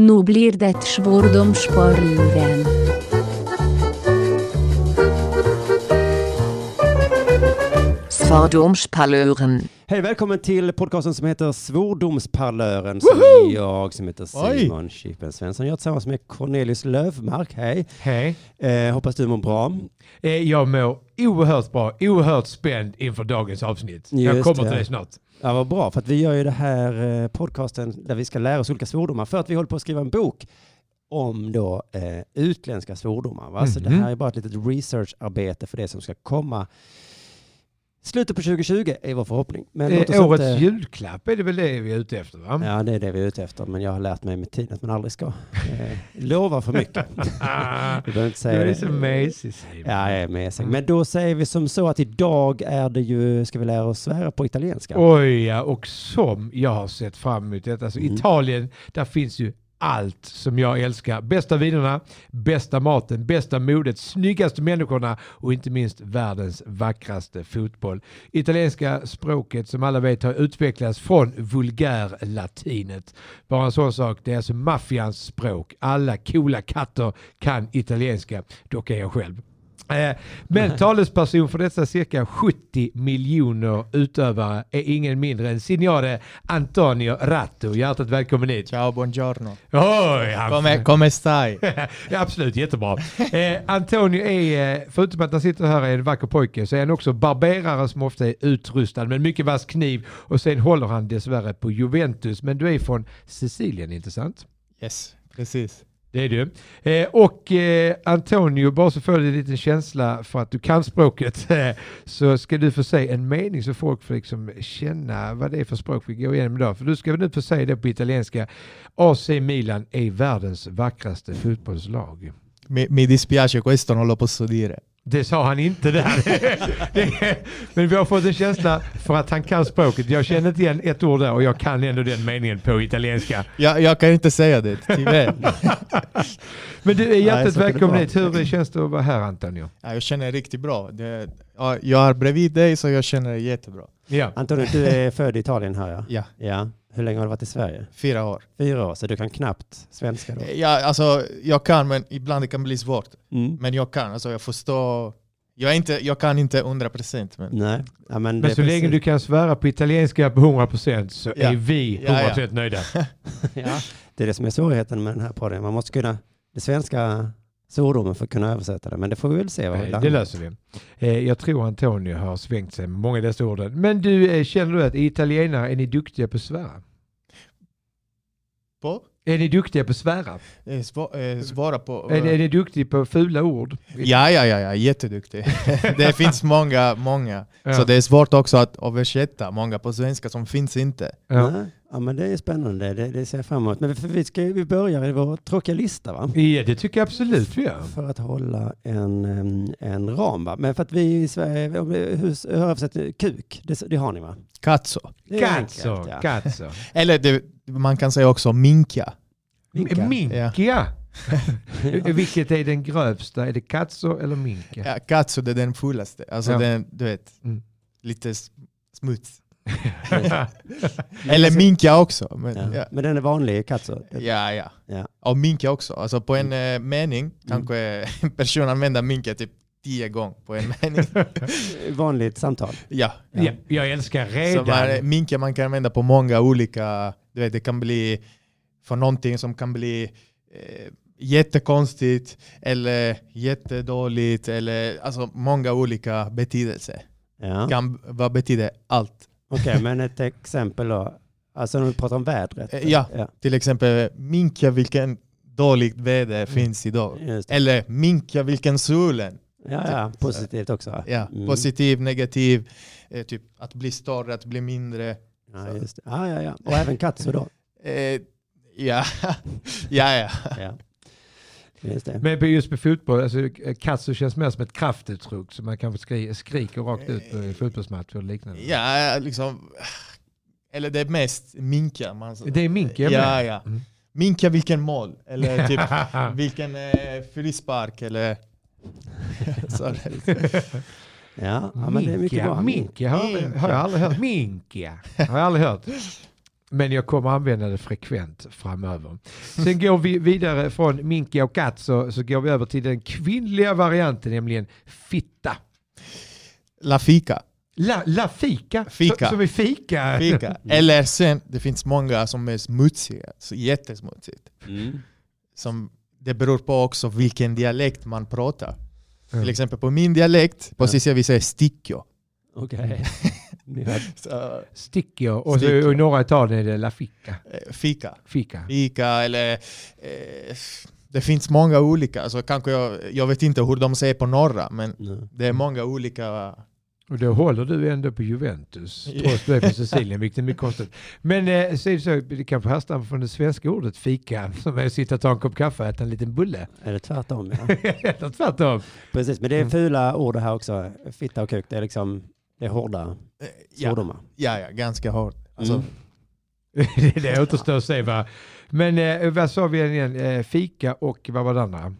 Nu blir det svordomsparluren. Svordomspalören. Hej, välkommen till podcasten som heter Svordomsparlören som jag som heter Oj. Simon Chippen Svensson gör tillsammans med Cornelius Lövmark. Hej! Hej. Eh, hoppas du mår bra. Eh, Jag mår oerhört bra, oerhört spänd inför dagens avsnitt. Just jag kommer det. till dig snart. Ja, vad bra, för att vi gör ju det här eh, podcasten där vi ska lära oss olika svordomar för att vi håller på att skriva en bok om då eh, utländska svordomar. Va? Så det Mhm. här är bara ett litet researcharbete för det som ska komma. Slutet på 2020 är vår förhoppning. Men låt oss Eh, årets inte... julklapp är det väl det vi är ute efter va? Ja, det är det vi är ute efter, men jag har lärt mig med tiden att man aldrig ska eh, lova för mycket. Ah, Vi behöver inte du säga är så Mm. mesig Simon. Ja, jag är med. sig. Men då säger vi som så att idag är det ju, ska vi lära oss svära på italienska? Oj ja, och som jag har sett fram emot detta. Alltså, Mm. Italien, där finns ju allt som jag älskar. Bästa vinerna, bästa maten, bästa modet, snyggaste människorna och inte minst världens vackraste fotboll. Italienska språket som alla vet har utvecklats från vulgärlatinet. Bara en sån sak, det är alltså maffians språk. Alla coola katter kan italienska, dock är jag själv. Eh, Men talesperson för dessa cirka 70 miljoner utövare är ingen mindre än signore Antonio Ratto. Hjärtligt välkommen hit. Ciao, buongiorno. Oj, han- Come, come stai? ja, absolut, jättebra. Eh, Antonio är, eh, förutom att han sitter här, är en vacker pojke, så är han också barberare som ofta är utrustad med mycket vass kniv och sen håller han dessvärre på Juventus. Men du är från Sicilien, inte sant? Yes, precis. Det är du. Eh, och eh, Antonio, bara så får du en liten känsla för att du kan språket, eh, så ska du få säga en mening så folk får liksom känna vad det är för språk vi går igenom idag. För du ska väl nu få säga det på italienska. AC Milan är världens vackraste fotbollslag. Mi, mi dispiace, questo non lo posso dire. Det sa han inte där. Det- Men vi har fått en känsla för att han kan språket. Jag känner inte igen ett ord där och jag kan ändå den meningen på italienska. Jag, jag kan inte säga det, tyvärr. Men du är Nej, hjärtligt så kan det välkommen vara. hit. Hur känns det att vara här Antonio? ja, jag känner riktigt bra. Det, ja, jag är bredvid dig så jag känner jättebra. Ja. Antonio, du är född i Italien här ja? Ja, Ja. Hur länge har du varit i Sverige? fyra år. Fyra år, så du kan knappt svenska då? Mm. Ja, alltså, jag kan, men ibland det kan bli svårt. Mm. Men jag kan, alltså, jag förstår. Jag, är inte, jag kan inte 100% men Nej. Ja, men det Men är så länge du precis- kan svära på italienska på 100% så Ja. är vi 100% Ja, ja. nöjda. ja. Det är det som är svårigheten med den här podden. Man måste kunna det svenska svordomen för att kunna översätta det. Men det får vi väl se. Vad vi Eh, Det landar. löser vi. Eh, Jag tror Antonio har svängt sig med många av dessa orden. Men du, eh, känner du att italienare, är ni duktiga på att svära? på, Är ni duktiga på att svära? eh, sva- eh, svara på. Är, är ni duktiga på fula ord? Ja, ja, ja, ja, jätteduktig. det finns många, många. Ja. Så det är svårt också att översätta många på svenska som finns inte. Ja. Nej. ja, men det är spännande. Det, det ser jag fram emot. Men för vi, ska, vi börjar i vår tråkiga lista va? ja, det tycker jag absolut vi gör. För att hålla en, em, en ram va? Men för att vi i Sverige, om vi- hur hur översätter ni? kuk, det, det har ni va? Katso. Det är Cazzo, enkelt, ja. cazzo. Eller det, man kan säga också minka. Minka. Minkia. Vilket är den grövsta? Är det cazzo eller minka? Ja, katso det är den fullaste. Alltså Ja. den, du vet, Mm. lite s- smuts. alltså- Eller minka också. Men, Ja. ja. Men den är vanlig, katso. Ja, ja. Ja. Och minka också. Alltså på en Mm. eh, mening kanske en person använder minka typ tio gånger på en mening. Vanligt samtal. ja. Ja, jag älskar Så man, redan. minka man kan använda på många olika, du vet, det kan bli för någonting som kan bli eh, jättekonstigt eller jättedåligt eller alltså många olika betydelser. Ja. Kan, vad betyder allt? Okej, men ett exempel då. Alltså när vi pratar om vädret. Eh, ja. ja. Till exempel minka vilken dåligt Mm. väder finns idag. Just det. Eller minka vilken solen. Ja, ja, positivt också. Ja, Mm. Positiv, negativ, eh, typ att bli större, att bli mindre. Ja, just det. Ja, ja, ja. Och även katso då. Eh, ja, ja, ja. Ja. Just det. Men på- just på fotboll, alltså Katsu känns mer som ett kraftuttryck som man kanske skri skriker rakt ut på i fotbollsmatcher och liknande. Mm. Ja, liksom. Eller det är mest minka. Man, alltså. Det är mink, jag ja, med. ja. Mm. Minka vilken mål, eller typ vilken eh, frispark eller... Sorry. Ja, ja men det är mycket Minkia, bra. Minkia har, jag- har jag aldrig hört. Minkia har jag aldrig hört. men jag kommer använda det frekvent framöver. Sen går vi vidare från minke och katt så, så går vi över till den kvinnliga varianten, nämligen fitta. La fika. La, la fika, Fika. Så- som i fika. fika. Eller sen, det finns många som är smutsiga, så jättesmutsigt. Mm. Som, det beror på också vilken dialekt man pratar. Mm. Till exempel på min dialekt, på Ja. Sicilia vi säger stickio. Okej. Ni har- Så, Stickio och så, Stickio. i norra Italien är det la fika. eh, fika. fika. Fika eller... Eh, det finns många olika. Alltså, kanske jag, jag vet inte hur de säger på norra, men Nej. det är många olika. Och då håller du ändå på Juventus, trots att du är från Sicilien, vilket är mycket konstigt. Men eh, så är det, så, det kanske härstammar från det svenska ordet fika, som är att sitta och ta en kopp kaffe och äta en liten bulle. Är det tvärtom? Ja. Eller tvärtom. Precis, men det är fula ord det här också. Fitta och kuk, det är liksom det är hårda Eh, Ja, svordomar. ja, ja, ganska hårt. Alltså, Mm. det det återstår att se. Va? Men eh, vad sa vi igen? Eh, fika och vad var det andra?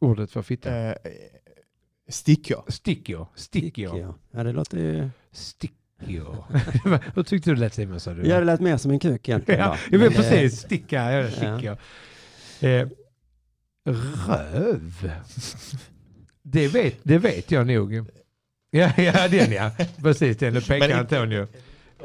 Ordet för fitta. eh, eh, stickio. Stickio. Stickio. Ja. ja, det låter ju... Stickio. Hur tyckte du det lät Simon? Sa du? Ja, det lät mer som en kuk egentligen. Ja, va? jag Men, vill eh, precis sticka. ja, sticka. Ja. Eh, röv. Det vet, det vet jag nog. Ja, ja den ja. Precis den. Nu pekar Men- Antonio.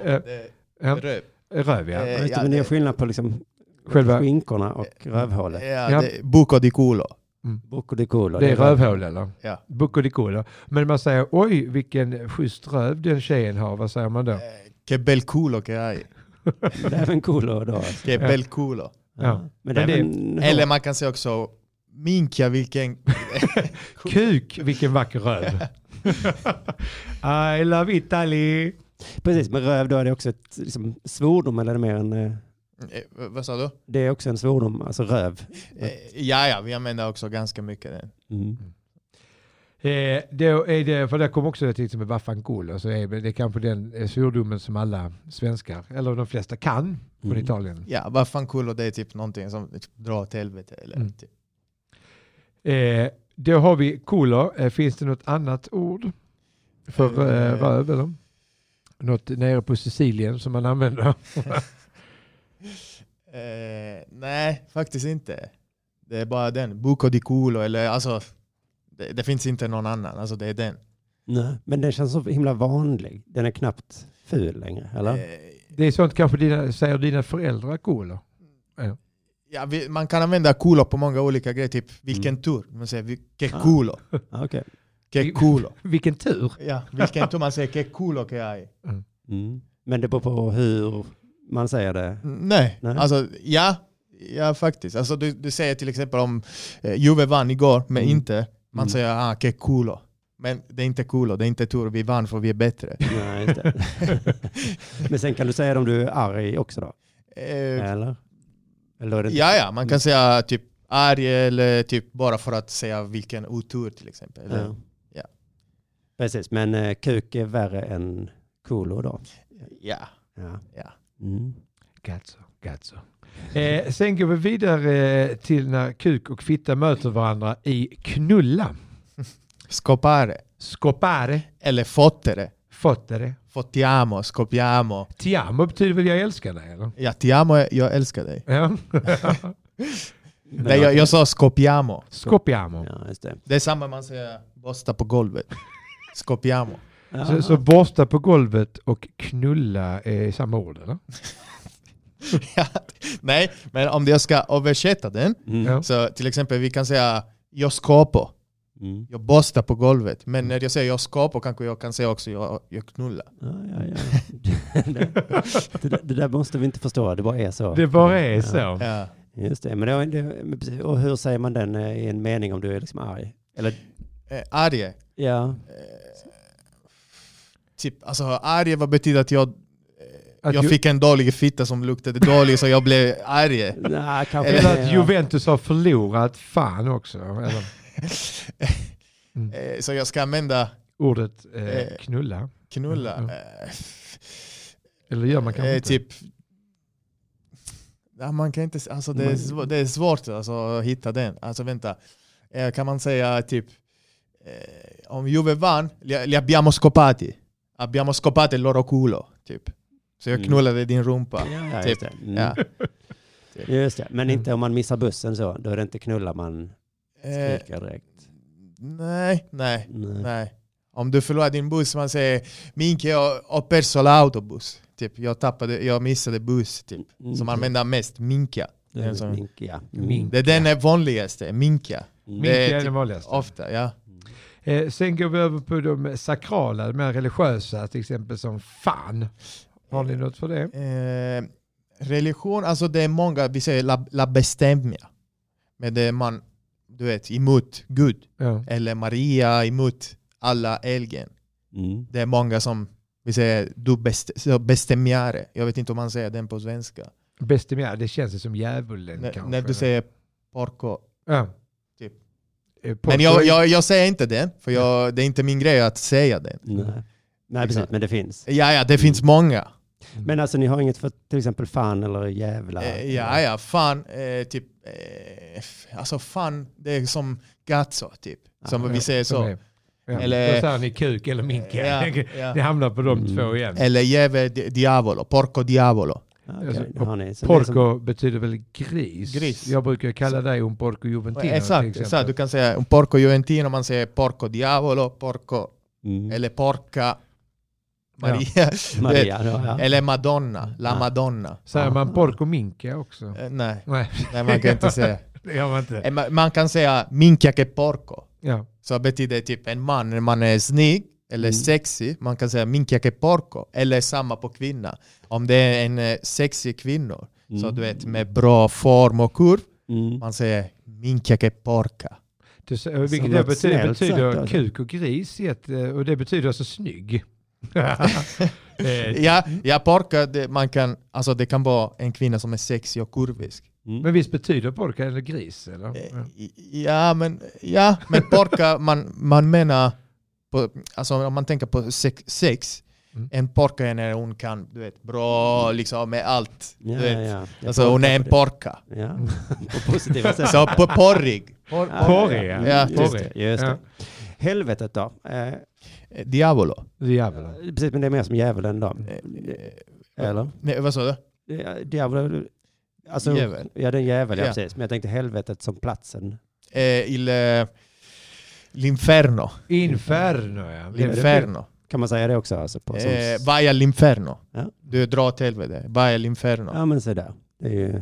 Eh, Det- ja, röv. Röv ja. Eh, Jag vet ja, inte, men det är det- skillnad på liksom Själva, skinkorna och rövhålet. Ja, Ja. det, buco di culo. Bocco di culo. det är rövhål eller? Ja. Bucodicolo. Men man säger oj vilken schysst röv den tjejen har. Vad säger man då? Eh, Che bel culo che hai. Det är även culo då. alltså. Che bel culo. Ja. Men det är Men det- även... Eller man kan säga också minka vilken... Kuk vilken vacker röv. I love Italy. Precis, men röv då är det också ett liksom, svordom eller är det mer en... eh, Eh, Vad sa du? Det är också en svordom, alltså röv. Eh, Ja, ja, vi använder också ganska mycket den. Mm. Eh, då är det, för där kom också det till exempel vaffanculo, så Alltså, är det kanske den eh, svordomen som alla svenskar, eller de flesta kan från Mm. Italien. Ja, vad fan culo det är typ någonting som typ, drar åt helvete. Eller, Mm. typ. Eh, då har vi culo, eh, finns det något annat ord för eh, Eh. röv eller? Något nere på Sicilien som man använder? eh, nej, faktiskt inte. Det är bara den. Buco di culo eller alltså... Det, det finns inte någon annan, alltså det är den. Nej, men den känns så himla vanlig. Den är knappt ful längre, eller? Eh, Det är sånt kanske dina, säger dina föräldrar culo. ja, vi, man kan använda culo på många olika grejer, typ vilken tur. Man säger vi- che culo, Mm. Ah, Okej. che culo. Vilken tur! Ja, vilken tur man säger che culo che hai. Mm. Men det beror på hur man säger det. Nej, Nej. alltså ja, ja faktiskt. Alltså, du, du säger till exempel om eh, Juve vann igår, men Mm. inte. Man Mm. säger ah, che culo. Men det är inte culo, det är inte tur, vi vann för vi är bättre. Nej, inte. men sen kan du säga det om du är arg också då? Eh, Eller? Eller är det inte- ja, ja, man kan säga typ arg eller typ bara för att säga vilken otur till exempel. Eller, Mm. Ja. Ja. Precis, men eh, kuk är värre än kulo då? ja. Ja. Ja. Mm. Gazzo, gazzo. Eh, sen går vi vidare eh, till när kuk och fitta möter varandra i knulla. Scopare Scopare, eller fottere. fottere. Fottiamo, scopiamo. Ti amo betyder väl jag älskar dig eller? Ja, ti amo, jag älskar dig. Ja. Nej, jag, jag sa scopiamo. Scopiamo. Ja, just det. Det är samma man säger bosta på golvet. Scopiamo. Ja. Så, så borsta på golvet och knulla är samma ord eller? Ja, Nej, men om jag ska översätta den, Mm. Ja. så till exempel vi kan säga jag skapar, Mm. jag borstar på golvet. Men när jag säger jag skapar kanske jag kan säga också jag, jag knullar. Ja, ja, ja. det, det, där- det där måste vi inte förstå, det bara är så. Det bara är Ja, så. Ja. Just det, men det, var- det, men precis. och hur säger man den eh, i en mening om du är liksom arg? Eller, Eh, arg. Eh, ja, typ, alltså arg vad betyder att jag, Att jag Ju- fick en dålig fitta som luktade dåligt så jag blev arg. nej, kanske Eller Eller inte, att ja. Juventus har förlorat fan också. Eller Mm. Eh, så jag ska använda ordet eh, Eh. knulla. knulla. Mm. Eh, Eller gör man kanske eh, inte. typ ja, man kan inte, s- alltså det, är Man- svå- det är svårt alltså, att hitta den. Alltså vänta, eh, kan man säga typ eh, om Juve vann, li, li abbiamo scopati. Abbiamo scopato il loro culo. Typ. Så jag Mm. knullade din rumpa. Ja, Typ. just, det. Mm. Ja. Mm. just det. Men inte om man missar bussen så. Då är det inte knulla man Eh, skriker direkt. nej, nej, Nej. nej. Om du förlorar din buss, man säger minke, jag har perso l'autobus. Typ, jag, tappade, jag missade buss, typ. Mm. Som använder mest, minka. Det Det är, en sån- Mm. mink, ja. Mink. det är den vanligaste, minka. Mm. Mink är typ den vanligaste. Ofta, ja. Eh, sen går vi över på de sakrala, de mer religiösa, till exempel som fan. Har ni något för det? Eh, religion, alltså det är många, vi säger la, la bestämmiga. Men det är man, du vet, emot Gud. Ja. Eller Maria, emot alla helgen. Mm. Det är många som, vi säger, du best, så bestämmiare. Jag vet inte om man säger den på svenska. Bestemia, det känns ju som djävulen När- kanske. när du säger porco. Ja. Typ. Eh, porco- Men jag, jag, jag säger inte den, för jag, det är inte min grej att säga den. Mm. Nej. Nej, precis. Exakt. Eh. Men det finns. Ja, ja, det finns många. Men alltså ni har inget för till exempel fan eller jävla? Eh, ja, ja, fan, eh, typ, eh, f- alltså fan, det är som gatso, typ. Som Ja, vi säger som så. är- Ja. Eller- Då säger ni kuk eller mink. Ja, ja. Eh, Ni hamnar på de Mm. två igen. Eller jäve di- diavolo, porco diavolo. Okej, Alltså, det har ni. Så det är liksom- Porco betyder väl gris? Gris. Jag brukar ju kalla dig un porco juventino exakt, till exakt, du exempel. kan säga un porco juventino, man säger porco diavolo, porco, Som, mm. eller porca Maria. Maria. Då, ja. eller Madonna, la Ja. Madonna. Säger Ah. man porco minka också? Eh, nej, Nej, nej, man kan inte säga. det gör man inte. Eh, ma- man kan säga minchia che porco. Ja. Så betyder typ en man, när man är snygg eller Mm. sexy, man kan säga minchia che porco, eller samma på kvinna. Om det är en eh, sexy kvinna, så Mm. du vet med bra form och kurv, Mm. man säger minchia che porca. Du, säger- vilket Som det ett betyder, snällt sätt, betyder alltså. kuk och gris i ett, eh, och det betyder alltså snygg. Eh, Ja, ja porca, det, man kan, alltså det kan vara en kvinna som är sexy och kurvisk. Mm. Men visst betyder porka eller gris? Eller? Eh, Ja. i- Ja, men, ja, men porca, man, man menar, på, alltså om man tänker på sex, sex Mm. en porca är när hon kan, du vet, bra liksom med allt. Ja, du vet. ja. Jag Alltså hon är en på porca. det. Ja, på positiva sätt. Så på porrig. Ja, Porrig, ja. ja. Ja, just porrig. det. Just Ja. det. Helvetet då? Eh, Eh, Diavolo. Djävulen. precis, men det är mer som djävulen då? Eh, Eller? Nej, vad sa du? Eh, Djävulen? Alltså, Djävul. Ja, det är en djävul, ja. Ja. precis. Men jag tänkte helvetet som platsen. Eh, Il, eh, l'inferno. Inferno ja. L'inferno. Kan man säga det också? Alltså, på som- Eh, vai all'inferno. Ja. Du drar åt helvete. Vai all'inferno. Ja, men se där. Det är ju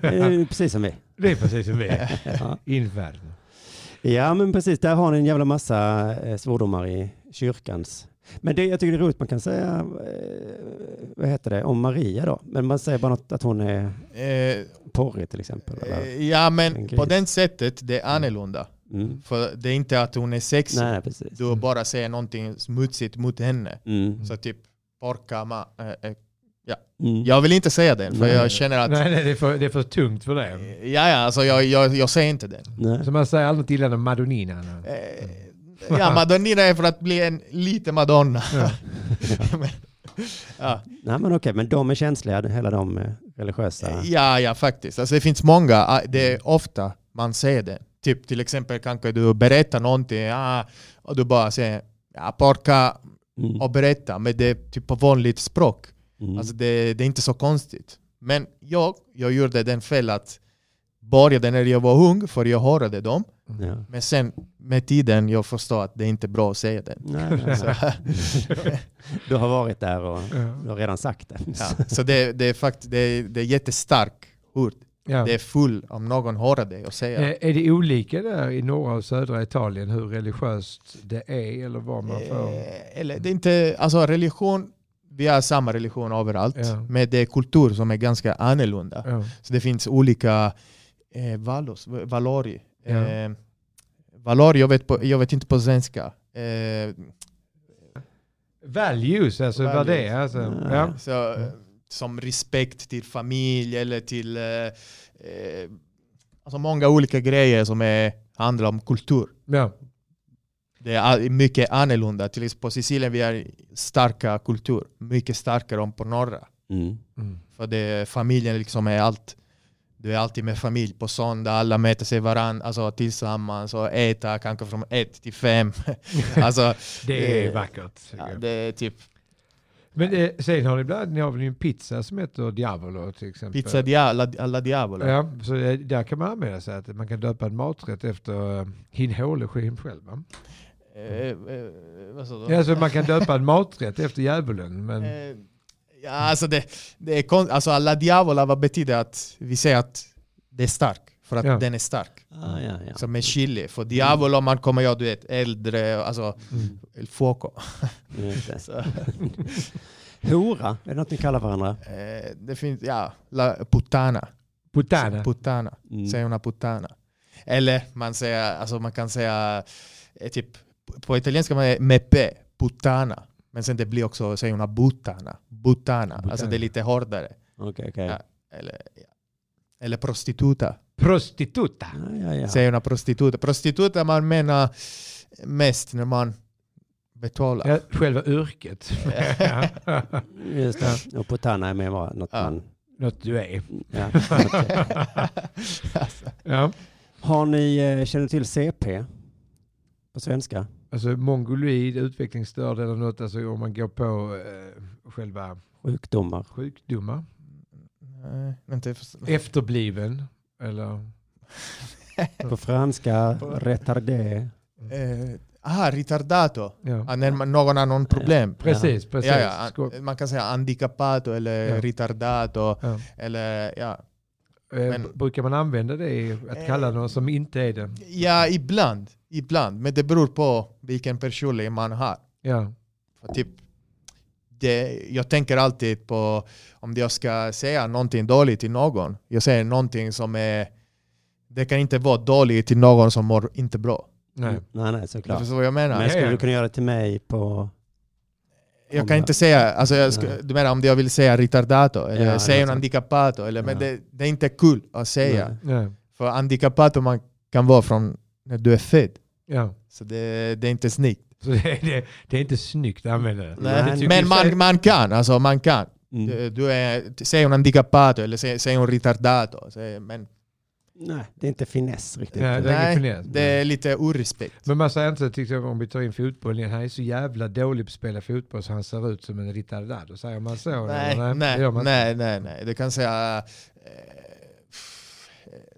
det är ju precis som vi. Det är precis som vi är. Ja. Inferno. ja, men precis. Där har ni en jävla massa eh, svordomar i kyrkans. Men det, jag tycker det är roligt, man kan säga, eh, vad heter det, om Maria då. Men man säger bara något, att hon är Eh, porrig till exempel. Eller? eh, ja, En men gris. på det sättet det är annorlunda. Mm. För det är inte att hon är sexig. Nej, nej, precis. Du bara säger någonting smutsigt mot henne. Mm. Så typ, porca ma... Eh, eh. Mm. Jag vill inte säga den, för Nej. jag känner att... Nej, nej det, är för, det är för tungt för det. Ja, ja, alltså jag, jag, jag säger inte den. Nej. Så man säger aldrig till henne Madonnina. nej. Eh, ja, Madonnina är för att bli en lite Madonna. Ja. Men, ja. nej, men okej, men de är känsliga, hela de eh, religiösa. ja, ja faktiskt. Alltså, det finns många, ah, det är ofta man ser det. Typ till exempel kanske du berättar någonting ah, och du bara säger ja, porka Mm. och berätta, men det är typ på vanligt språk. Mm. Alltså det, det är inte så konstigt. Men jag, jag gjorde den fel att började när jag var ung, för jag hörde dem. Ja. Men sen med tiden jag förstår att det är inte bra att säga den. Nej, nej. Så, Du har varit där och Ja. du har redan sagt det. ja. så det, det är faktiskt det är, det är jättestark ord. Ja. Det är full om någon hör det och säger. Eh, Är det olika där i norra och södra Italien hur religiöst det är eller vad man får? Eh, Eller det är inte, alltså religion, vi har samma religion överallt. Ja. Men det är kultur som är ganska annorlunda. Ja. Så det finns olika eh, valos, valori. Ja. Eh, valori, jag vet, på, jag vet inte på svenska. Eh, Values, alltså vad det är. Alltså. Ja. Ja. så, Mm. Som respekt till familj eller till eh, eh, alltså många olika grejer som är, handlar om kultur. Ja. Det är all- mycket annorlunda. Till exempel på Sicilien vi har starka kultur. Mycket starkare än på norra. Mm. Mm. För det, familjen liksom är allt. Du är alltid med familj på söndag, alla möter sig varandra alltså, tillsammans och äta kanske från ett till fem. alltså, Det är Eh, vackert. tycker ja, jag. det är typ Men eh, sen har ni ibland, ni har väl en pizza som heter Diavolo till exempel. Pizza dia, la, alla diavolo. Ja, så eh, där kan man använda sig att man kan döpa en maträtt efter eh, hin håle skin själv. Va? Eh, eh, vad sa du? Ja, så man kan döpa en maträtt efter djävulen. Men, Eh, ja, alltså, det, det är kon- alltså alla diavola, vad betyder att vi säger att det är stark? För att Ja. den är stark. Ah, ja, ja. Som med chili. För diavolo, man kommer göra du vet, äldre, alltså mm. el fuoco. Just det. Så, Hora, är det något ni kallar varandra? eh, det finns, ja, la puttana. Puttana. Puttana. Mm. Säg una puttana. Eller man, säger, alltså man kan säga, eh, typ, på italienska man är mepe, puttana. Men sen det blir också, säg una buttana. Buttana. Alltså Buttana. det är lite hårdare. Okej, okej. Ja. Eller, ja. Eller prostituta. Prostituta. Ah, ja, ja. Säg una prostituta. Prostituta man menar mest när man betalar. Ja, själva yrket. Ja. Just det. Och Potana är med bara något Ja. man... Något du är. Ja. alltså, Ja. Har ni, eh, känner till CP? På svenska? Alltså mongoloid, utvecklingsstörd eller något, alltså om man går på eh, själva Sjukdomar. sjukdomar. Mm. nej, vänta, jag förstår. Efterbliven. Eller På franska, retardé. Eh, ah, retardato. ja. Ah, när man, någon har någon problem. eh, Precis, precis. Ja, ja. Sko- an- Man kan säga handicappato eller Ja. retardato. Ja. Eller, ja. Eh, Men- Eh. b- Brukar man använda det i att kalla någon som inte är det? ja, ibland. Ibland. Men det beror på vilken personlighet man har. Ja. För typ, det, jag tänker alltid på om jag ska säga någonting dåligt till någon. Jag säger någonting som är... Det kan inte vara dåligt till någon som mår inte bra. Nej. Nej, nej, Du såklart. förstår vad jag menar? Men skulle ja. du kunna göra det till mig på... Jag kan inte säga, alltså jag sku, Nej. du menar om jag vill säga retardato eller Ja, säga en exakt. handicappato, eller, men Ja. det, det är inte kul att säga. Nej. Nej. För handicappato man kan vara från när du är född, Ja. så det, det är inte snyggt. Så det, det, det är inte snyggt att använda det. Nej, det tycker Men vi- man, man kan, alltså man kan. Mm. Du, du är, säg en handicappato eller säg, säg en retardato, säg, men Nej, det är inte finess riktigt. Nej, det är Nej, inget generellt. det är lite orespekt. Men man säger inte till exempel om vi tar in fotboll igen, han är så jävla dålig på att spela fotboll så han ser ut som en ritardado. Säger man så? eller? Nej, det nej, gör man inte. nej, nej, nej. Du kan säga... Eh,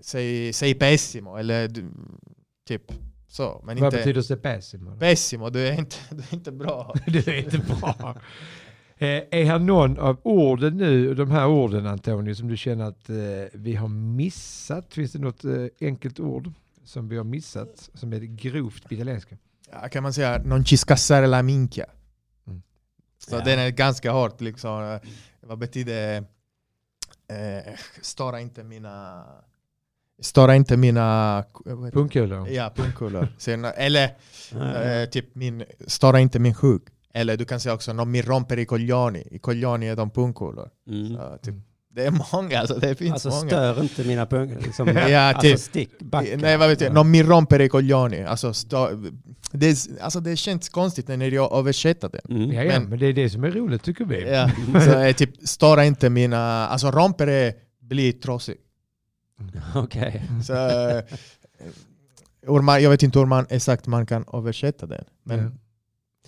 säg, säg pessimo, eller du, typ så. Men Vad inte betyder se pessimo? pessimo, du är inte, du är inte bra. det är inte bra. Eh, är här någon av orden nu, de här orden Antonio, som du känner att eh, vi har missat? Finns det något eh, enkelt ord som vi har missat, som är grovt på italienska? Ja, kan man säga non ci scassare la minchia? Mm. Så Ja. den är ganska hårt liksom. Vad betyder... Eh, störa inte mina... Störa inte mina... eh, vad heter det? Pungkulor? Ja, pungkulor. Sen- Eller Nej. Eh, typ min, störa inte min sjuk. Eller du kan säga också, någon min romper i coglioni. I coglioni är de pungkulor. Mm. Så, typ, det är många, alltså det finns Alltså många. stör inte mina punkter. Liksom, Ja, alltså typ. stick, Mm. backa. Nej, vad vet jag, någon min romper i coglioni. Alltså, stö, det, är- alltså det känns konstigt när jag översätter det. Mm. Ja, ja, Men- men det är det som är roligt tycker vi. Ja. Så är typ, störa inte mina... Alltså romper är, blir trasig. Okej. Så, eh, hur man, jag vet inte hur man exakt man kan översätta den. Men, Ja.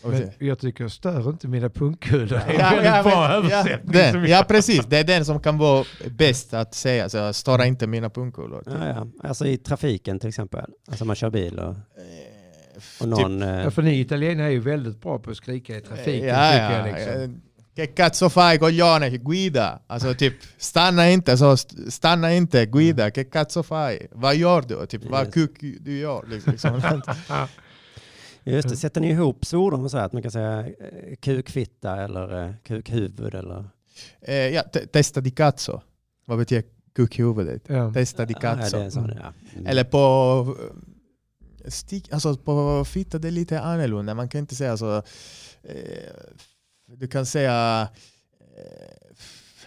vad vet jag. Men jag tycker stör inte mina pungkulor. Det är en Ja, väldigt ja, bra men- ja, översättning. som den, jag- ja, precis. Det är den som kan vara bäst att säga. Så störa inte mina pungkulor. Ja, ja. Alltså i trafiken till exempel. Alltså man kör bil och, Eh, och någon... eh, Typ. Ja, för ni italienare är ju väldigt bra på att skrika i trafiken. ja, tycker ja. jag, liksom. Eh, Che cazzo fai coglione? Guida! Alltså typ, stanna inte, så st- stanna inte, guida, che cazzo fai? Vad gör du? Typ, Yes. vad kuk du gör? Liksom. Just Mm. det, sätter ni ihop svordom så här att man kan säga eh, kukfitta eller eh, kukhuvud eller... eh, ja, te- testa di cazzo. Vad betyder kukhuvudet? Ja. Testa di Ja, cazzo. det är så, ja. Mm. Eller på... eh, Stick, alltså på fitta det är lite annorlunda. Man kan inte säga så... ah, Eh, du kan säga... Eh, f-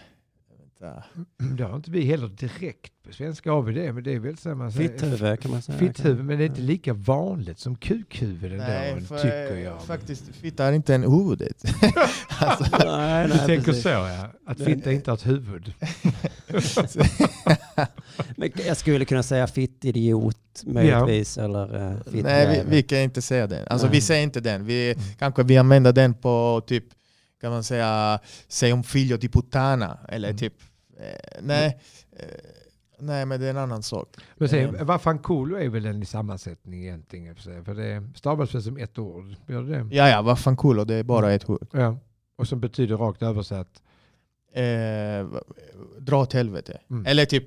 vänta. Mm. Det har inte vi heller direkt på svenska av det, men det är väl samma sak. Fitthuvud kan man säga. Fitthuvud, men det är inte lika vanligt som kukhuvud ändå, Nej, för, tycker jag. faktiskt, fitta är inte en huvudet. alltså, Nej, Du nej, tänker precis. så ja, att fitta inte har ett huvud. Men jag skulle kunna säga fittidiot möjligtvis eller eh, nej, vi, fittjävel. vi kan inte säga den. Alltså, Nej. Mm. vi säger inte den. Vi, kanske vi använder den på typ kan man säga, säg om figlio di puttana eller Mm. typ, eh, nej, eh, nej men det är en annan sak. Men Eh. sen, Vafankulo är väl en sammansättning egentligen? i och För, sig, för det stavas väl som ett ord? Gör det det? Ja, ja, vad fan cool, och det är Mm. bara ett ord. Ja. Och som betyder rakt översatt. Eh, va- dra åt helvete. Mm. Eller typ,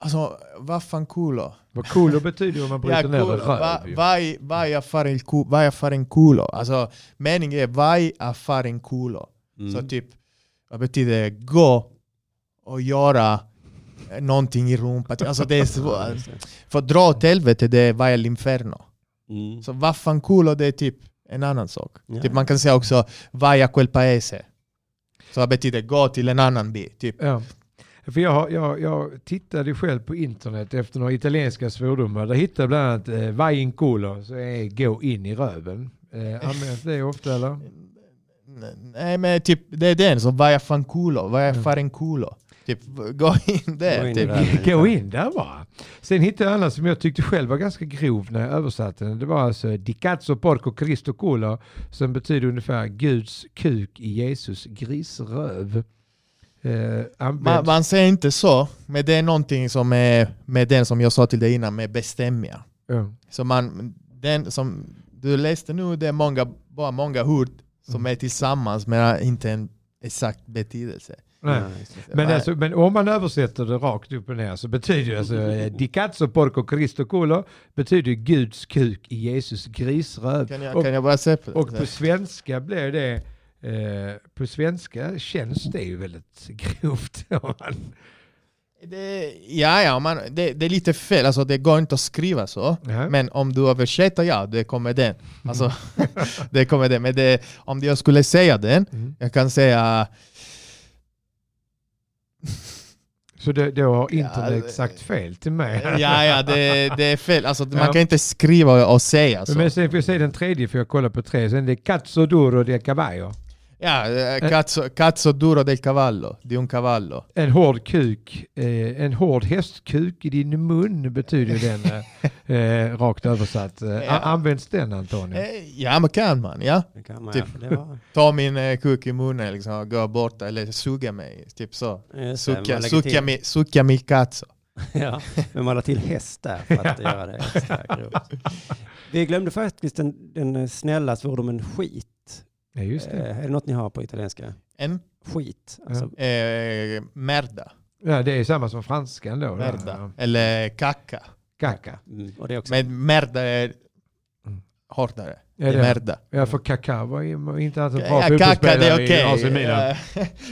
alltså vad fan culo? Vad kulo betyder om man bryter ner det. culo. Va- Röv, ju. Vai vai a fare il cu- vai a fare in culo. Ah, Alltså meningen är vai a fare in culo. Mm. Så typ, vad betyder gå och göra eh, någonting i rumpan. Alltså det är Ja, svårt. just det. För dra åt helvete det är vai all'inferno. Mm. Så vaffanculo det är typ en annan sak. Ja. Typ man kan säga också vai a quel paese. Så det betyder gå till en annan by. Typ. Ja. För jag, har- jag, jag tittade själv på internet efter några italienska svordomar. Där hittade jag bland annat eh, vai in culo, så är gå in i röven. Eh, används det ofta eller? N- Nej men typ, det är den. Så vai a fanculo, vai a Mm. fare in culo. Typ gå in där. Gå in eh. i typ. det. Gå in där bara. Sen hittade jag en annan som jag tyckte själv var ganska grov när jag översatte den. Det var alltså Di cazzo porco Cristo culo som betyder ungefär Guds kuk i Jesus grisröv. Eh, används- Man, man säger inte så, men det är någonting som är med den som jag sa till dig innan med bestämmiga. ja. Så man, den som du läste nu, det är många, bara många ord som Mm. är tillsammans men inte en exakt betydelse. Nej. Ja, just det. Men, Nej. alltså, men om man översätter det rakt upp och ner så betyder det alltså eh, Di cazzo porco Cristo culo betyder Guds kuk i Jesus grisröv. Kan jag, Och- kan jag Eh. bara se på det? Och på svenska blir det eh, på svenska känns det ju väldigt grovt. om man- Det, ja, ja man, det, det är lite fel. Alltså, det går inte att skriva så. Ja. Men om du översätter, ja, det kommer den. Alltså, det kommer den. Men det, om jag skulle säga den, Mm. jag kan säga... Så det, då har Ja, internet det- sagt fel till mig. Ja, ja, det, det är fel. Alltså, Ja. man kan inte skriva och säga så. Men sen får jag säga den tredje för jag kollar på tre. Sen det är Cazzo duro de cavallo. Ja, eh, cazzo, cazzo duro del cavallo, di un cavallo. En hård kuk, eh, en hård hästkuk i din mun betyder ju den eh, eh, rakt översatt. Eh, Ja. a- Används den Antonio? Eh, Ja, men kan man, ja. Det kan man, Typ. ja. Det var, Ta min eh, kuk i munnen liksom, och gå bort eller suga mig, typ så. just det, Sucka, man lägger sucka, till- mi, sucka mi cazzo. Ja, men man la till häst där för att göra det extra grovt. Vi glömde faktiskt den, den snälla svordomen skit. Ja, just det. Eh, är det något ni har på italienska? En Skit. Alltså, eh, merda, Ja, det är samma som franskan då. merda. eller kacka. Kaka. mm, och det är också Men merda är Mm. Eh, hårdare. Ja, det är det- merda. Eh, ah, Ja, för Kaká var ju inte alls en bra Ja, kacka fotbollsspelare det är i okej. AC Milan. Eh,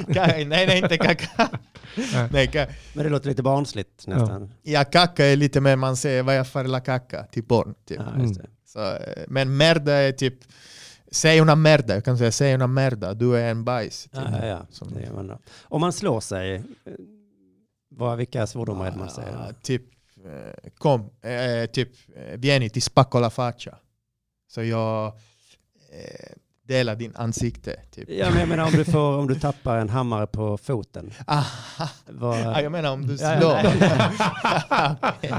ka- nej, nej, inte kacka. Nej. nej, ka- Men det låter lite barnsligt nästan. ja, kacka är lite mer man säger, vad jag för la kacka till barn. Typ. Ja, just det. Så, eh, men merda är typ, säg una merda, jag kan säga säg una merda, du är en bajs. Typ. Ja, ja, ja. Som- Det gör man då. Om man slår sig, eh, vad, vilka svordomar är det man säger? Ah, då? typ, eh, kom, eh, typ, eh, vieni ti spacco la faccia. Så jag eh, delar din ansikte. Typ. Ja, men jag menar om du, får, om du tappar en hammare på foten. Aha. Vad, Ah, jag menar om du Ja, ja, slår.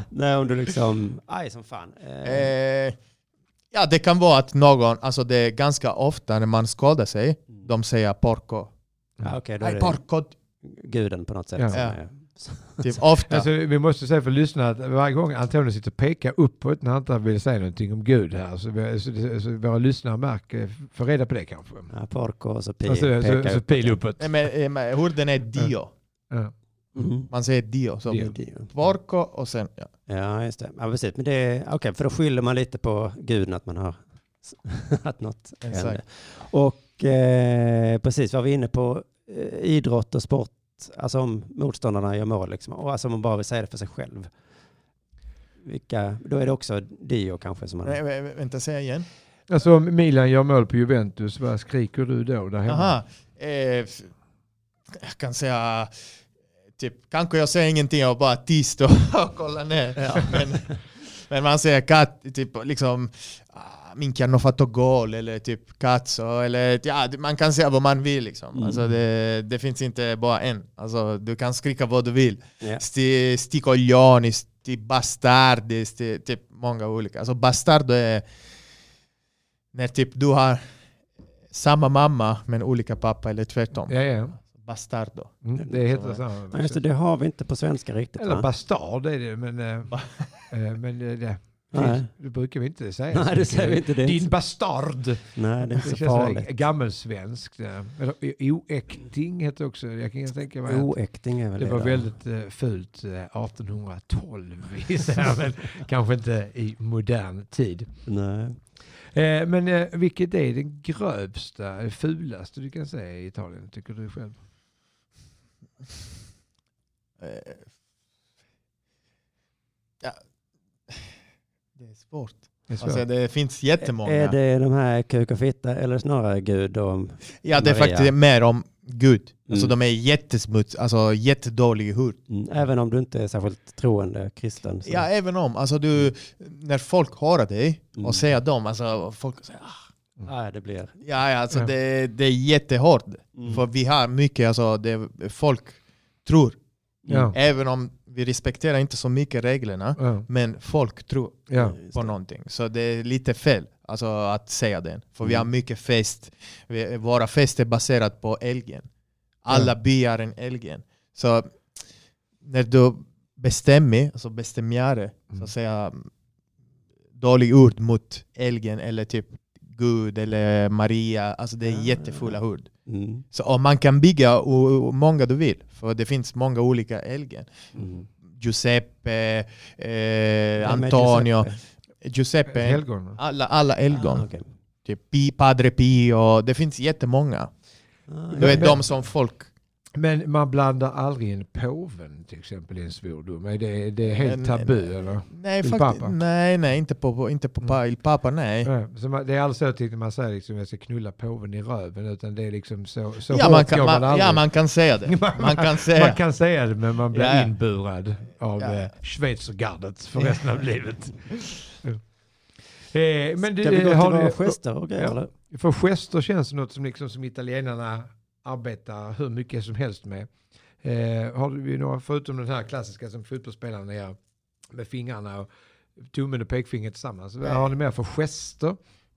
Nej, om du liksom, aj som fan. Eh, Eh, ja, det kan vara att någon, alltså det är ganska ofta när man skadar sig, Mm. de säger porco. ja, Okej, då är Aj, det porco! guden på något sätt. Ja. som Ja. är- Typ ofta. Alltså, vi måste säga för lyssnarna att varje gång Antonio sitter och pekar uppåt när han inte vill säga någonting om Gud här så, vi, så, så, så våra lyssnare märker, får reda på det kanske. Ja, porco och så pi, Alltså, så, pekar så, så upp. pil uppåt. Nej, men, eh, men orden är dio. Ja. Mhm. Man säger dio. Så Dio. porco och sen... Ja. Ja, just det. Ja, precis. Men det är, okej, för då skyller man lite på guden att man har att något Exakt. händer. Och eh, precis, vad vi är inne på, eh, idrott och sport, alltså om motståndarna gör mål liksom, och alltså om man bara vill säga det för sig själv. Vilka, då är det också Dio kanske som man... Nej, vä- vä- vänta, säg igen. Alltså om Milan gör mål på Juventus, vad skriker du då där hemma? Aha. Eh, f- jag kan säga... Typ, kanske jag säger ingenting, jag bara tyst och och kollar ner. Men, men man säger katt, typ liksom... ah, Minchi hanno fatto gol eller typ cazzo eller ja, man kan säga vad man vill liksom. Mm. Alltså det, det finns inte bara en. Alltså du kan skrika vad du vill. Ja. Eh. sti, sti coglioni, sti bastardi, sti, typ många olika. Alltså bastardo är när typ du har samma mamma men olika pappa e eller tvärtom. Ja, ja. Eh. Bastardo. Mm, det heter samma. Nej, just det, det har vi inte på svenska riktigt. Eller va? bastard är det, men, eh, eh, men eh, det, Nej. det brukar vi inte säga. så Nej, det mycket. säger vi inte. Det är Din inte, bastard! nej, det är inte Det så känns sådär farligt. gammelsvenskt. eh. Eller Oäkting heter också, jag kan tänka mig. att- Oäkting är väl Det var där. väldigt eh, fult eh, 1812, gissar jag, men kanske inte i modern tid. Nej. Eh, men eh, vilket är den grövsta, eh, fulaste du kan säga i Italien, tycker du själv? Eh, ah, Ja. Det är svårt. Det är svårt. Alltså, det finns jättemånga. Är det Eh, de här kuk och fitta eller snarare gud och... ja, det är Maria? faktiskt mer om Gud. Alltså Mm. mm, de är jättesmuts, alltså jättedålig i hud. Mm, Även om du inte är särskilt troende kristen. Så. Ja, även om. Alltså du, när folk hör dig och Mm. säger dem, alltså folk säger "Ah, Nej, det blir... ja, ja, alltså Ja. Det, det är jättehårt. Mm. För vi har mycket, alltså det folk tror. Ja. Även om vi respekterar inte så mycket reglerna, Ja, men folk tror ja. på någonting. Så det är lite fel alltså, att säga det. För vi har Mm. mycket fest. Vi, våra fester är baserat på älgen. Alla byar en älgen. Så när du bestämmer, alltså bestämjare, så Mm. att säga dålig ord mot älgen eller typ Gud eller Maria, alltså det är Ah. jättefulla ord. Mm. Så och man kan bygga o- o- många du vill, för det finns många olika älgen. Mm. Giuseppe, eh, Vem är Antonio, Giuseppe? Giuseppe, Helgon. alla, alla helgon. Ah, okej. Typ Pi, Padre Pi och det finns jättemånga. Ah, Du vet ja. de som folk... Men man blandar aldrig in påven till exempel i en svordom. Är det, det är helt Nej, nej, tabu nej. eller? Nej, Il faktiskt, Papa. nej, nej, inte på, på- inte på Mm. pa, il Papa, nej. Nej, Så man, det är alltså inte man säger liksom jag ska knulla påven i röven utan det är liksom så, så Ja hårt man, går kan, man, man, aldrig. ja, man kan säga det. Man- Man kan Man säga. kan säga det men man blir Ja. inburad av Ja. eh, schweizergardet för resten av livet. Ja. Eh, men Ska vi du, gå eh, till har våra du, gester och grejer? Ja. eller? för gester känns det något som, liksom, som italienarna arbetar hur mycket som helst med. Eh, har du några, förutom den här klassiska som fotbollsspelarna gör med fingrarna och tummen och pekfingret tillsammans. Vad Nej. har ni mer för gester?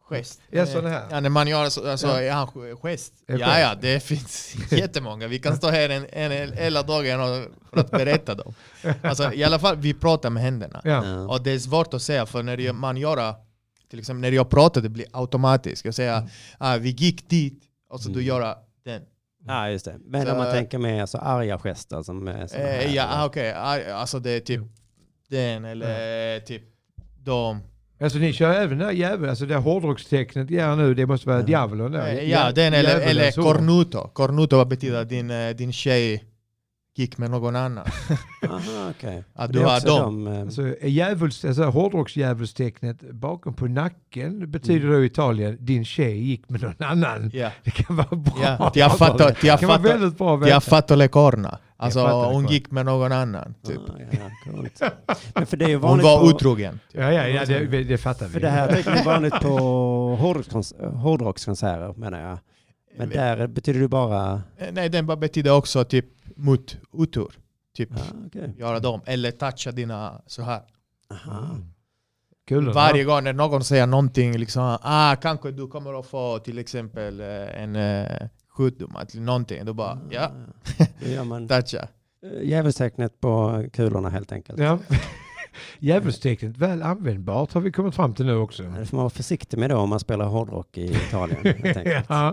Gest. Ja, sån här. Ja, när man gör så, alltså, Ja. ja. Ja, gest. Ja, Ja, ja, det finns jättemånga. Vi kan stå här en, en, en hela dagen och, för att berätta dem. Alltså, I alla fall, vi pratar med händerna. Ja. Ja. Och det är svårt att säga, för när jag- man gör, till exempel när jag pratar, det blir automatiskt. Jag säger, ah, vi gick dit, och så du Mm. gör den. Ja, just det. Men Så- om man tänker med alltså, arga gester som är såna här, Eh, ja, eller? ah, okej, ah, alltså det är typ den, eller typ de. Alltså ni kör även det här djävulen, alltså det här hårdrockstecknet ja, nu, det måste vara Ja. djävulen då? Eh, Djä- ja, den, eller, djävulens eller ord. cornuto. Cornuto vad betyder din, eh, din tjej gick med någon annan. Aha, okej. Ja, Det du är har också dem. de, eh, Alltså, är djävuls, alltså hårdrocksdjävulstecknet bakom på nacken betyder då i Italien din tjej gick med någon annan. Mm. Ja. Det kan vara bra. Ja, ti ha fatto, ti ha det kan vara fatto, väldigt bra att ti ha veta. fatto le corna. Alltså fatto le hon corna. gick med någon annan. Typ. ah, ja, coolt. Men för det är ju Hon vanligt var på, otrogen. typ. Ja, ja, ja det, det fattar vi. För det här tycker jag är vanligt på hårdrockskons- hårdrockskonserter menar jag. Men där betyder det bara... Eh, Nej, den bara betyder också typ mot otur. Typ Ja, okej. göra dem. Eller toucha dina så här. Aha. Ah. Kul. va? Varje gång när någon säger någonting, liksom, ah, kanske du kommer att få till exempel eh, en eh, sjukdom, att någonting. Då bara, ja, Mm. Då gör man toucha. eh, djävulstecknet på kulorna helt enkelt. Ja. Djävulstecknet, väl användbart har vi kommit fram till nu också. Det får Mm. man vara försiktig med då om man spelar hårdrock i Italien. helt enkelt. ja.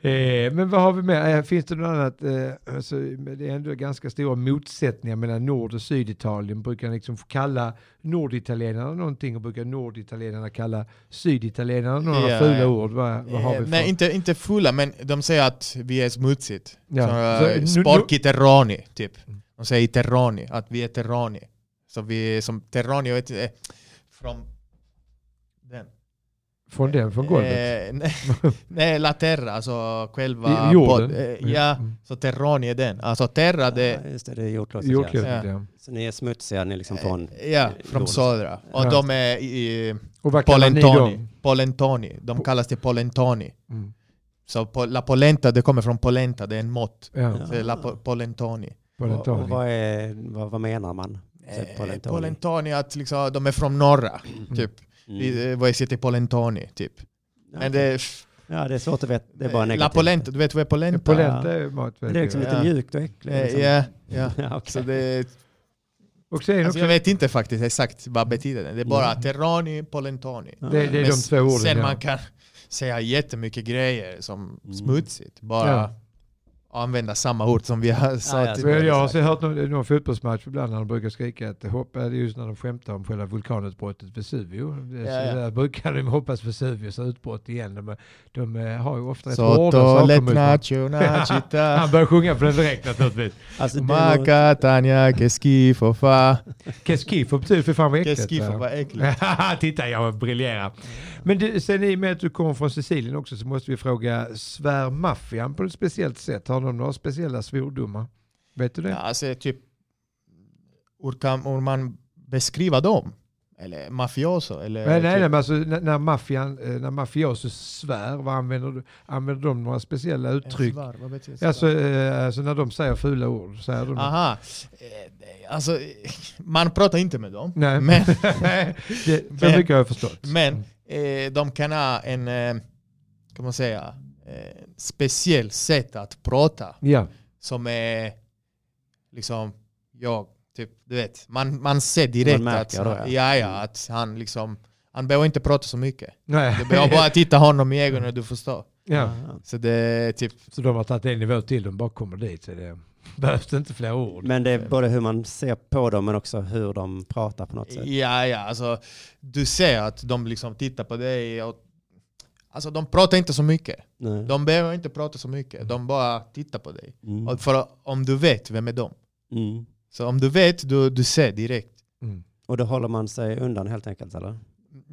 eh, men vad har vi mer? Eh, finns det något annat? Eh, alltså, men det är ändå ganska stora motsättningar mellan Nord och Syditalien. Brukar liksom kalla Norditalienarna någonting och brukar Norditalienarna kalla Syditalienarna några Ja, fula ja. ord? Vad, vad har vi Eh, för? Nej, inte, inte fulla, men de säger att vi är smutsigt. Ja. Så, Så eh, nu- sporky terroni, typ. Mm. De säger terroni, att vi är terroni. Så vi är som terroni, jag vet inte, eh, från den. Från den, från golvet? Eh, nej, nej, la terra, alltså själva... I- jorden. pod- eh, ja, Mm. så terroni är den. Alltså terra, det... Ja, just det, det är jordklotet. Jordklotet, Ja. Ja. ja. Så ni är smutsiga, ni är liksom från... Ja, från jorden. södra. Och Ja. de är i, Och vad kallar ni polentoni. dem? polentoni. De Po- kallas till polentoni. Mm. Så po, la polenta, det kommer från polenta, det är en mått. Ja, Ah. Så det är la po, polentoni. Och, och polentoni. vad, är, vad, vad menar man? Så Eh, polentoni. Polentoni, att liksom, de är från norra. Typ. Mm. Mm. Vad jag säger till polentoni, typ. Men Okej. det, Ja, det är svårt att veta. Det är bara eh, La negativt. polenta, du vet vad är polenta? Polenta är mat. Det vet är jag. liksom lite Ja. mjukt och äckligt. Eh, Liksom. Ja, ja. Ja, okej. Så det, Och sen alltså också, jag vet inte faktiskt exakt vad betyder det. Det är bara terroni, polentoni. Ja. Mm. det, det är Men de två orden. Sen ja. man kan säga jättemycket grejer som Mm. smutsigt. Bara Ja. använda samma ord som vi har ja, sagt. så Men är det jag har så hört någon, någon fotbollsmatch ibland när de brukar skrika att hoppa, det är just när de skämtar om själva vulkanutbrottet Vesuvio. Det- Ja, ja. så Där brukar de hoppas Vesuvius utbrott igen. De, de eh, har ju ofta rätt hårda Sotto, saker let mot dem. nacho, nachita. Han börjar sjunga på den direkt naturligtvis. Alltså, det är nog- Maka, tanja, keski, fofa. Keskifo betyder för fan vad äckligt. Keski, va? fofa, äckligt. Titta, jag briljerar. Men du, sen i och med att du kommer från Sicilien också så måste vi fråga, svär maffian på ett speciellt sätt? Har de några speciella svordomar? Vet du det? Ja, alltså typ, hur, kan, hur man beskriva dem? Eller mafioso? Eller Nej, nej, typ- nej, men alltså när, när maffian, eh, när mafioso svär, vad använder, du, använder de några speciella uttryck? Svar, vad betyder svar? Alltså, eh, alltså när de säger fula ord, säger de Aha. Eh, Alltså, man pratar inte med dem. Nej, Men, det, så men- mycket har jag förstått. men eh, de kan ha en, eh, kan man säga, eh, speciell sätt att prata Ja, som är liksom, jag, typ, du vet, man, man ser direkt Man att, märker då, ja. ja, ja, att han liksom, han behöver inte prata så mycket. nej. Du behöver bara titta honom i ögonen och du förstår. ja. Ja. Så det är typ, Så de har tagit en nivå till, de bara kommer dit. Så det behövs det inte fler ord. Men det är både hur man ser på dem men också hur de pratar på något sätt. ja, ja, alltså, du ser att de liksom tittar på dig och Alltså de pratar inte så mycket. Nej. De behöver inte prata så mycket. De bara tittar på dig. Mm. Och för om du vet, vem är de? Mm. Så om du vet, du, du ser direkt. Mm. Och då håller man sig undan helt enkelt eller?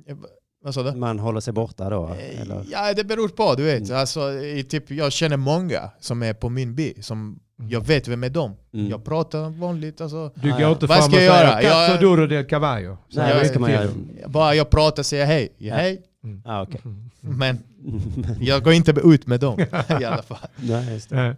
Eh, Vad sa du? Man håller sig borta då? Eh, Eller? Ja, det beror på. Du vet. Mm. Alltså, i typ, jag känner många som är på min by, som Mm. jag vet vem är de. Mm. Jag pratar vanligt. Alltså. Du Ah, går ja. inte Vad fram och ska jag säger göra? Jag- cazzo duro del cavallo. Så Nej, jag vad vet ska man till göra? dem. Bara jag pratar och säger hej. Ja, Ja. hej. Ah, okej. Mm. Men jag går inte ut med dem i alla fall. Nej, just det.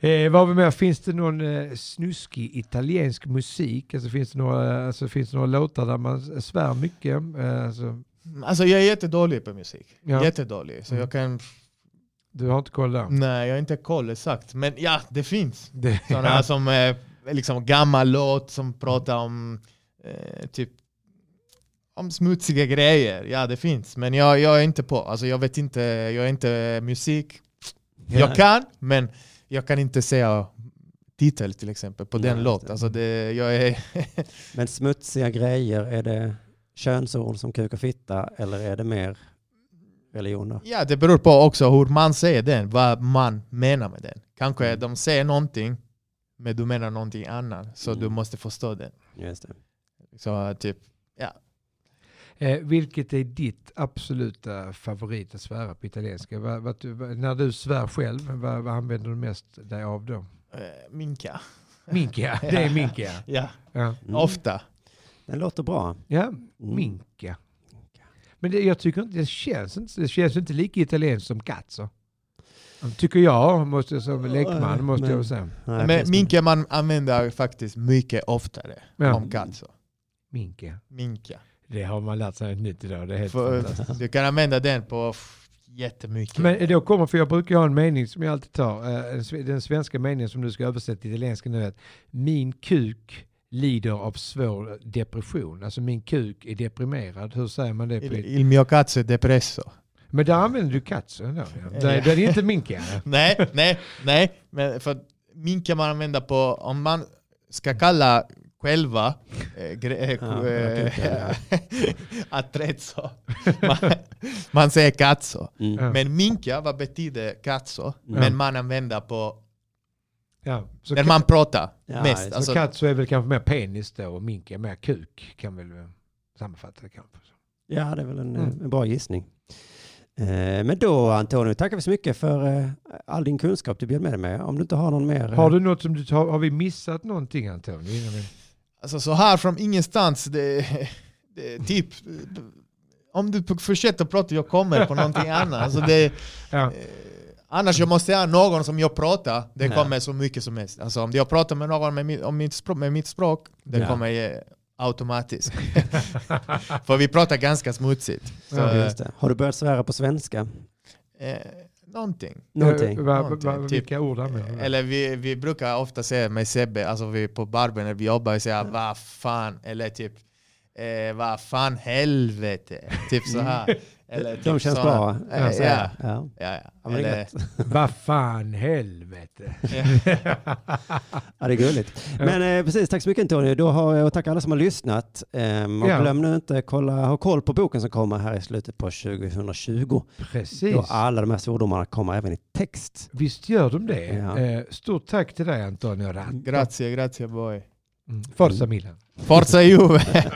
Nej. Eh, vad har vi mer? Finns det någon eh, snuskig italiensk musik? Alltså, finns, det några, alltså, finns det några låtar där man svär mycket? Eh, alltså, Alltså jag är jättedålig på musik. Ja. Jättedålig. Så Mm. jag kan... du har inte koll där? Nej, jag har inte koll exakt. Men ja, det finns. Det- Sådana som eh, liksom gammal låt som pratar om eh, typ om smutsiga grejer. Ja, det finns. Men jag, jag är inte på. Alltså, jag vet inte. Jag är inte musik. Jag kan, men jag kan inte säga titel till exempel på Nej, den just låt. det. Alltså, det, jag är... Men smutsiga grejer, är det könsord som kuk och fitta eller är det mer religion då? Ja, det beror på också hur man säger den. Vad man menar med den. Kanske de säger någonting, men du menar någonting annat. Så Mm. du måste förstå den. Just det. Så typ, Eh, vilket är ditt absoluta favorit att svära på italienska? Vad- vad du, vad- när du svär själv, vad, vad använder du mest dig av då? eh, minka. Minka, det är minka. Ja, Ja, Mm. ofta. Den låter bra. ja Mm. minka. Men det, jag tycker inte det, känns inte, det känns inte lika italienskt som cazzo. Tycker jag, måste jag som lekman, måste jag men- säga. Nej, Men precis. minka man använder faktiskt mycket oftare Ja. om katt. Så. Minka. Minka. Det har man lärt sig något nytt idag. Det är helt För, fantastiskt. du kan använda den på f- jättemycket. Men då kommer, för jag brukar ha en mening som jag alltid tar, eh, en sve- den svenska meningen som du ska översätta till italienska nu är att min kuk lider av svår depression. Alltså min kuk är deprimerad. Hur säger man det? På il, it- il mio cazzo è depresso. Men där använder du katso ändå. Ja. Det, det är inte minka. nej, nej, nej. Men för minka man använder på, om man ska kalla själva äh, gre- Ja, äh, jag attrezzo. Man, man säger katso. Mm. Ja. Men minka, vad betyder katso? Ja. Men man använder på, Ja. Så, när ka- man pratar Ja, mest. så Alltså, katso är väl kanske mer penis då och minka är mer kuk. Kan väl eh, sammanfatta det kanske. Ja, det är väl en, Mm. en bra gissning. Eh, Men då Antonio, tackar vi så mycket för eh, all din kunskap du bjöd med dig med. Om du inte har någon mer. eh, Har du något som du har, har vi missat någonting Antonio? Innan vi... Alltså så här från ingenstans, det, det, typ, om du fortsätter prata jag kommer på någonting annat. Alltså det, Ja. eh, annars jag måste ha någon som jag pratar, det Ja. kommer så mycket som helst. Alltså om jag pratar med någon med mitt, om mitt, språk, med mitt språk, det Ja. kommer eh, automatiskt. För vi pratar ganska smutsigt. Så, Ja, eh, Just det. Har du börjat svära på svenska? eh, någonting. Någonting. Eh, va- va- Någonting, typ. Vilka ord använder du? Eller vi, vi brukar ofta säga med Sebbe, alltså vi på barben när vi jobbar, säga vad fan, eller typ eh, vad fan helvete, typ så här. Eller, typ De känns såna. bra. Eh, jag säger. ja, ja. ja, ja. men det är Eller, gött. Vad fan helvete. Ja, det är gulligt. Men eh, precis, tack så mycket Antonio. Då har, jag- och tack alla som har lyssnat. Ehm, och Ja. glöm nu inte kolla, ha koll på boken som kommer här i slutet på 2020. Precis. Då alla de här svordomarna kommer även i text. Visst gör de det. Ja. Eh, Stort tack till dig Antonio Ratt. grazie, grazie boy. Mm. Forza Milan. Forza Juve!